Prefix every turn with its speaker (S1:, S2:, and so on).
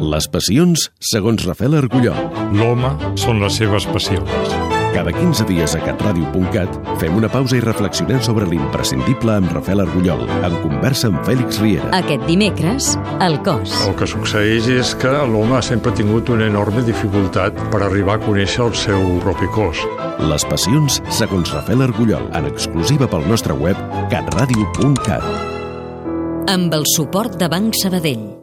S1: les passions segons Rafael Argulló.
S2: L'home són les seves passions.
S1: Cada 15 dies a catradio.cat fem una pausa i reflexionem sobre l'imprescindible amb Rafael Argullol, en conversa amb Fèlix Riera.
S3: Aquest dimecres, el cos.
S2: El que succeeix és que l'home sempre ha tingut una enorme dificultat per arribar a conèixer el seu propi cos.
S1: Les passions segons Rafael Argullol, en exclusiva pel nostre web catradio.cat.
S3: Amb el suport de Banc Sabadell.